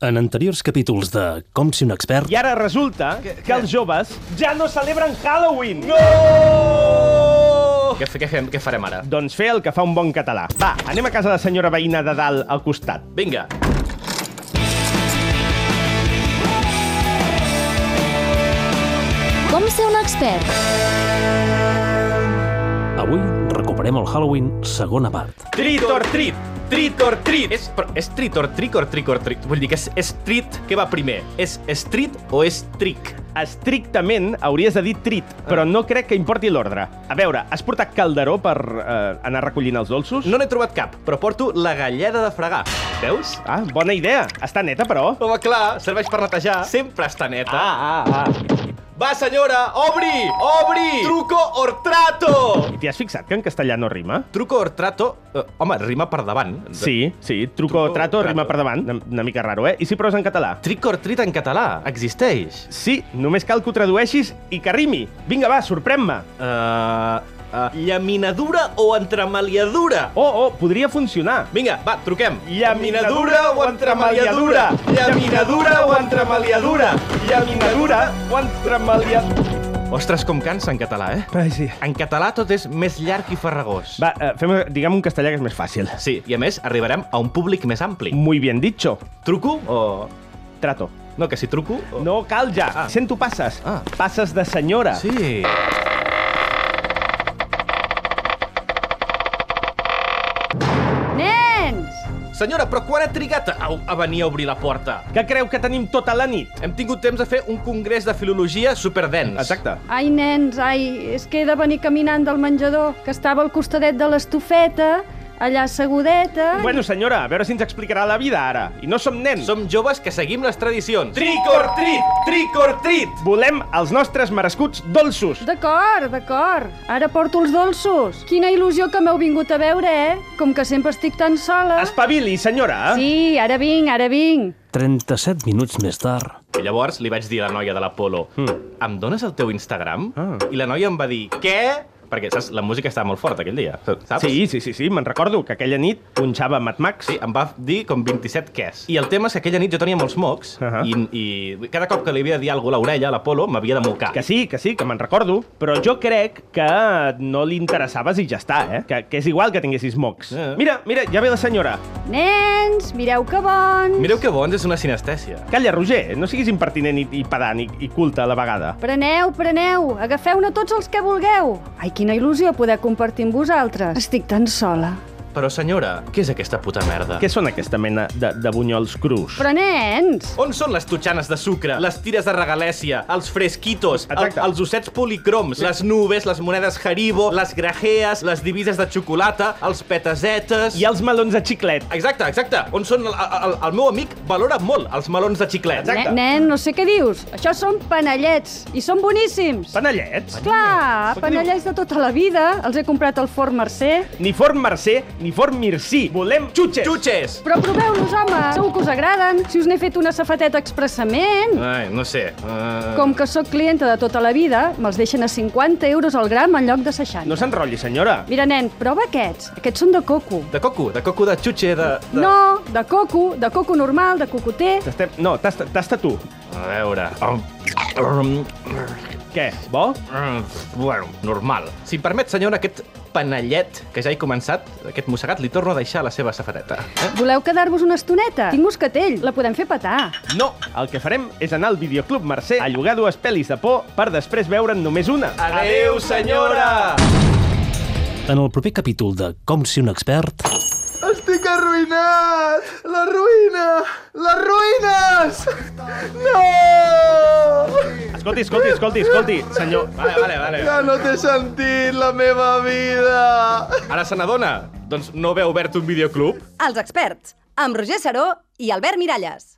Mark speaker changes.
Speaker 1: En anteriors capítols de Com si un expert...
Speaker 2: I ara resulta que, que els joves ja no celebren Halloween. No!
Speaker 3: Què, fe- què, fem, què farem ara?
Speaker 2: Doncs fer el que fa un bon català. Va, anem a casa de la senyora veïna de dalt al costat.
Speaker 3: Vinga,
Speaker 4: Com ser un expert?
Speaker 1: Avui recuperem el Halloween segona part.
Speaker 3: Treat or treat! Treat or treat! És, però, és treat or trick or trick or treat? Vull dir que és, és treat, què va primer? És street o és trick?
Speaker 2: Estrictament hauries de dir trit,
Speaker 3: Ah.
Speaker 2: però no crec que importi l'ordre. A veure, has portat calderó per eh, anar recollint els dolços?
Speaker 3: No n'he trobat cap, però porto la galleda de fregar. Veus?
Speaker 2: Ah, bona idea. Està neta, però.
Speaker 3: Home, clar, serveix per netejar. Sempre està neta. Ah, ah, ah. Va, senyora, obri! Obri! Truco or trato!
Speaker 2: T'hi has fixat que en castellà no rima?
Speaker 3: Truco or trato... Eh, home, rima per davant.
Speaker 2: Sí, sí. Truco,
Speaker 3: Truco,
Speaker 2: trato,
Speaker 3: trato.
Speaker 2: rima per davant. Una, una mica raro, eh? I si proves en català?
Speaker 3: Trick or treat en català. Existeix.
Speaker 2: Sí, només cal que ho tradueixis i que rimi. Vinga, va, sorprèn-me.
Speaker 3: Uh, uh, llaminadura o entremaliadura?
Speaker 2: Oh, oh, podria funcionar.
Speaker 3: Vinga, va, truquem.
Speaker 2: Llaminadura o entremaliadura? Llaminadura o entremaliadura? Llaminadura o entremaliadura?
Speaker 3: Ostres, com cansa en català, eh?
Speaker 2: Ai, sí.
Speaker 3: En català tot és més llarg i farragós.
Speaker 2: Va, eh, fem, diguem un castellà que és més fàcil.
Speaker 3: Sí, i a més arribarem a un públic més ampli.
Speaker 2: Muy bien dicho.
Speaker 3: Truco o...
Speaker 2: Trato.
Speaker 3: No, que si truco... O...
Speaker 2: No cal ja.
Speaker 3: Ah.
Speaker 2: Sento passes.
Speaker 3: Ah.
Speaker 2: Passes de senyora.
Speaker 3: Sí.
Speaker 4: Nens!
Speaker 3: Senyora, però quan ha trigat a, a venir a obrir la porta?
Speaker 2: Que creu que tenim tota la nit?
Speaker 3: Hem tingut temps de fer un congrés de filologia superdens.
Speaker 2: Exacte.
Speaker 4: Ai, nens, ai, és que he de venir caminant del menjador, que estava al costadet de l'estufeta, allà segudeta...
Speaker 2: Bueno, senyora, a veure si ens explicarà la vida ara. I no som nens.
Speaker 3: Som joves que seguim les tradicions. Trick or treat! Trick or treat!
Speaker 2: Volem els nostres merescuts dolços.
Speaker 4: D'acord, d'acord. Ara porto els dolços. Quina il·lusió que m'heu vingut a veure, eh? Com que sempre estic tan sola.
Speaker 2: Espavili,
Speaker 3: ah.
Speaker 2: senyora.
Speaker 4: Sí, ara vinc, ara vinc.
Speaker 1: 37 minuts més tard...
Speaker 3: I llavors li vaig dir a la noia de l'Apolo, mm. em dones el teu Instagram?
Speaker 2: Hmm. Ah.
Speaker 3: I la noia em va dir, què? Perquè, saps, la música estava molt forta aquell dia, saps?
Speaker 2: Sí, sí, sí, sí, me'n recordo que aquella nit punxava Mad Max.
Speaker 3: Sí, em va dir com 27 quès. I el tema és que aquella nit jo tenia molts mocs uh
Speaker 2: Ahà.
Speaker 3: -huh. i, i cada cop que li havia de dir alguna cosa a l'orella, a l'Apolo, m'havia de mocar.
Speaker 2: Que sí, que sí, que me'n recordo, però jo crec que no li interessaves i ja està, eh? Que, que és igual que tinguessis mocs.
Speaker 3: Eh.
Speaker 2: Mira, mira, ja ve la senyora.
Speaker 4: Nens, mireu que bons.
Speaker 3: Mireu que bons és una sinestèsia.
Speaker 2: Calla, Roger, no siguis impertinent i, i pedant i, i culte a la vegada.
Speaker 4: Preneu, preneu, agafeu-ne tots els que vulgueu. Ai, quina il·lusió poder compartir amb vosaltres. Estic tan sola.
Speaker 3: Però senyora, què és aquesta puta merda?
Speaker 2: Què són aquesta mena de, de bunyols crus?
Speaker 4: Però nens,
Speaker 3: On són les totxanes de sucre, les tires de regalèsia, els fresquitos, el,
Speaker 2: Exacte.
Speaker 3: els ossets policroms, les nubes, les monedes Haribo, les grajees, les divises de xocolata, els petasetes...
Speaker 2: I els melons de xiclet.
Speaker 3: Exacte, exacte. On són... El, el, el meu amic valora molt els melons de xiclet.
Speaker 2: Exacte.
Speaker 4: ne- nen, no sé què dius. Això són panellets i són boníssims.
Speaker 2: Panellets?
Speaker 4: Clar,
Speaker 2: Però què
Speaker 4: panellets de tota la vida. Els he comprat al Fort Mercè.
Speaker 2: Ni forn mercè, ni forn mircí. Volem xutxes.
Speaker 3: Xutxes!
Speaker 4: Però proveu-los, home! Segur que us agraden. Si us n'he fet una safateta expressament.
Speaker 3: Ai, no sé. Uh...
Speaker 4: Com que sóc clienta de tota la vida, me'ls deixen a 50 euros al gram en lloc de 60.
Speaker 2: No s'enrotlli, senyora.
Speaker 4: Mira, nen, prova aquests. Aquests són de coco.
Speaker 3: De coco, de coco de xutxe, de... de...
Speaker 4: No, de coco, de coco normal, de cocoter.
Speaker 2: Tastem... No, tasta, tasta tu.
Speaker 3: A veure... Um, um,
Speaker 2: Què, bo?
Speaker 3: um, bueno, normal. Si em permet, senyora, aquest panellet que ja he començat, aquest mossegat, li torno a deixar a la seva safateta. Eh?
Speaker 4: Voleu quedar-vos una estoneta? Tinc moscatell, la podem fer petar.
Speaker 2: No, el que farem és anar al videoclub Mercè a llogar dues pel·lis de por per després veure'n només una.
Speaker 3: Adeu, senyora!
Speaker 1: En el proper capítol de Com si un expert...
Speaker 5: Estic arruïnat! La ruïna! Les ruïnes! No!
Speaker 2: Escolti, escolti, escolti, escolti, senyor...
Speaker 3: Vale, vale, vale.
Speaker 5: Ja no té sentit la meva vida!
Speaker 3: Ara se n'adona? Doncs no haver obert un videoclub?
Speaker 6: Els experts, amb Roger Saró i Albert Miralles.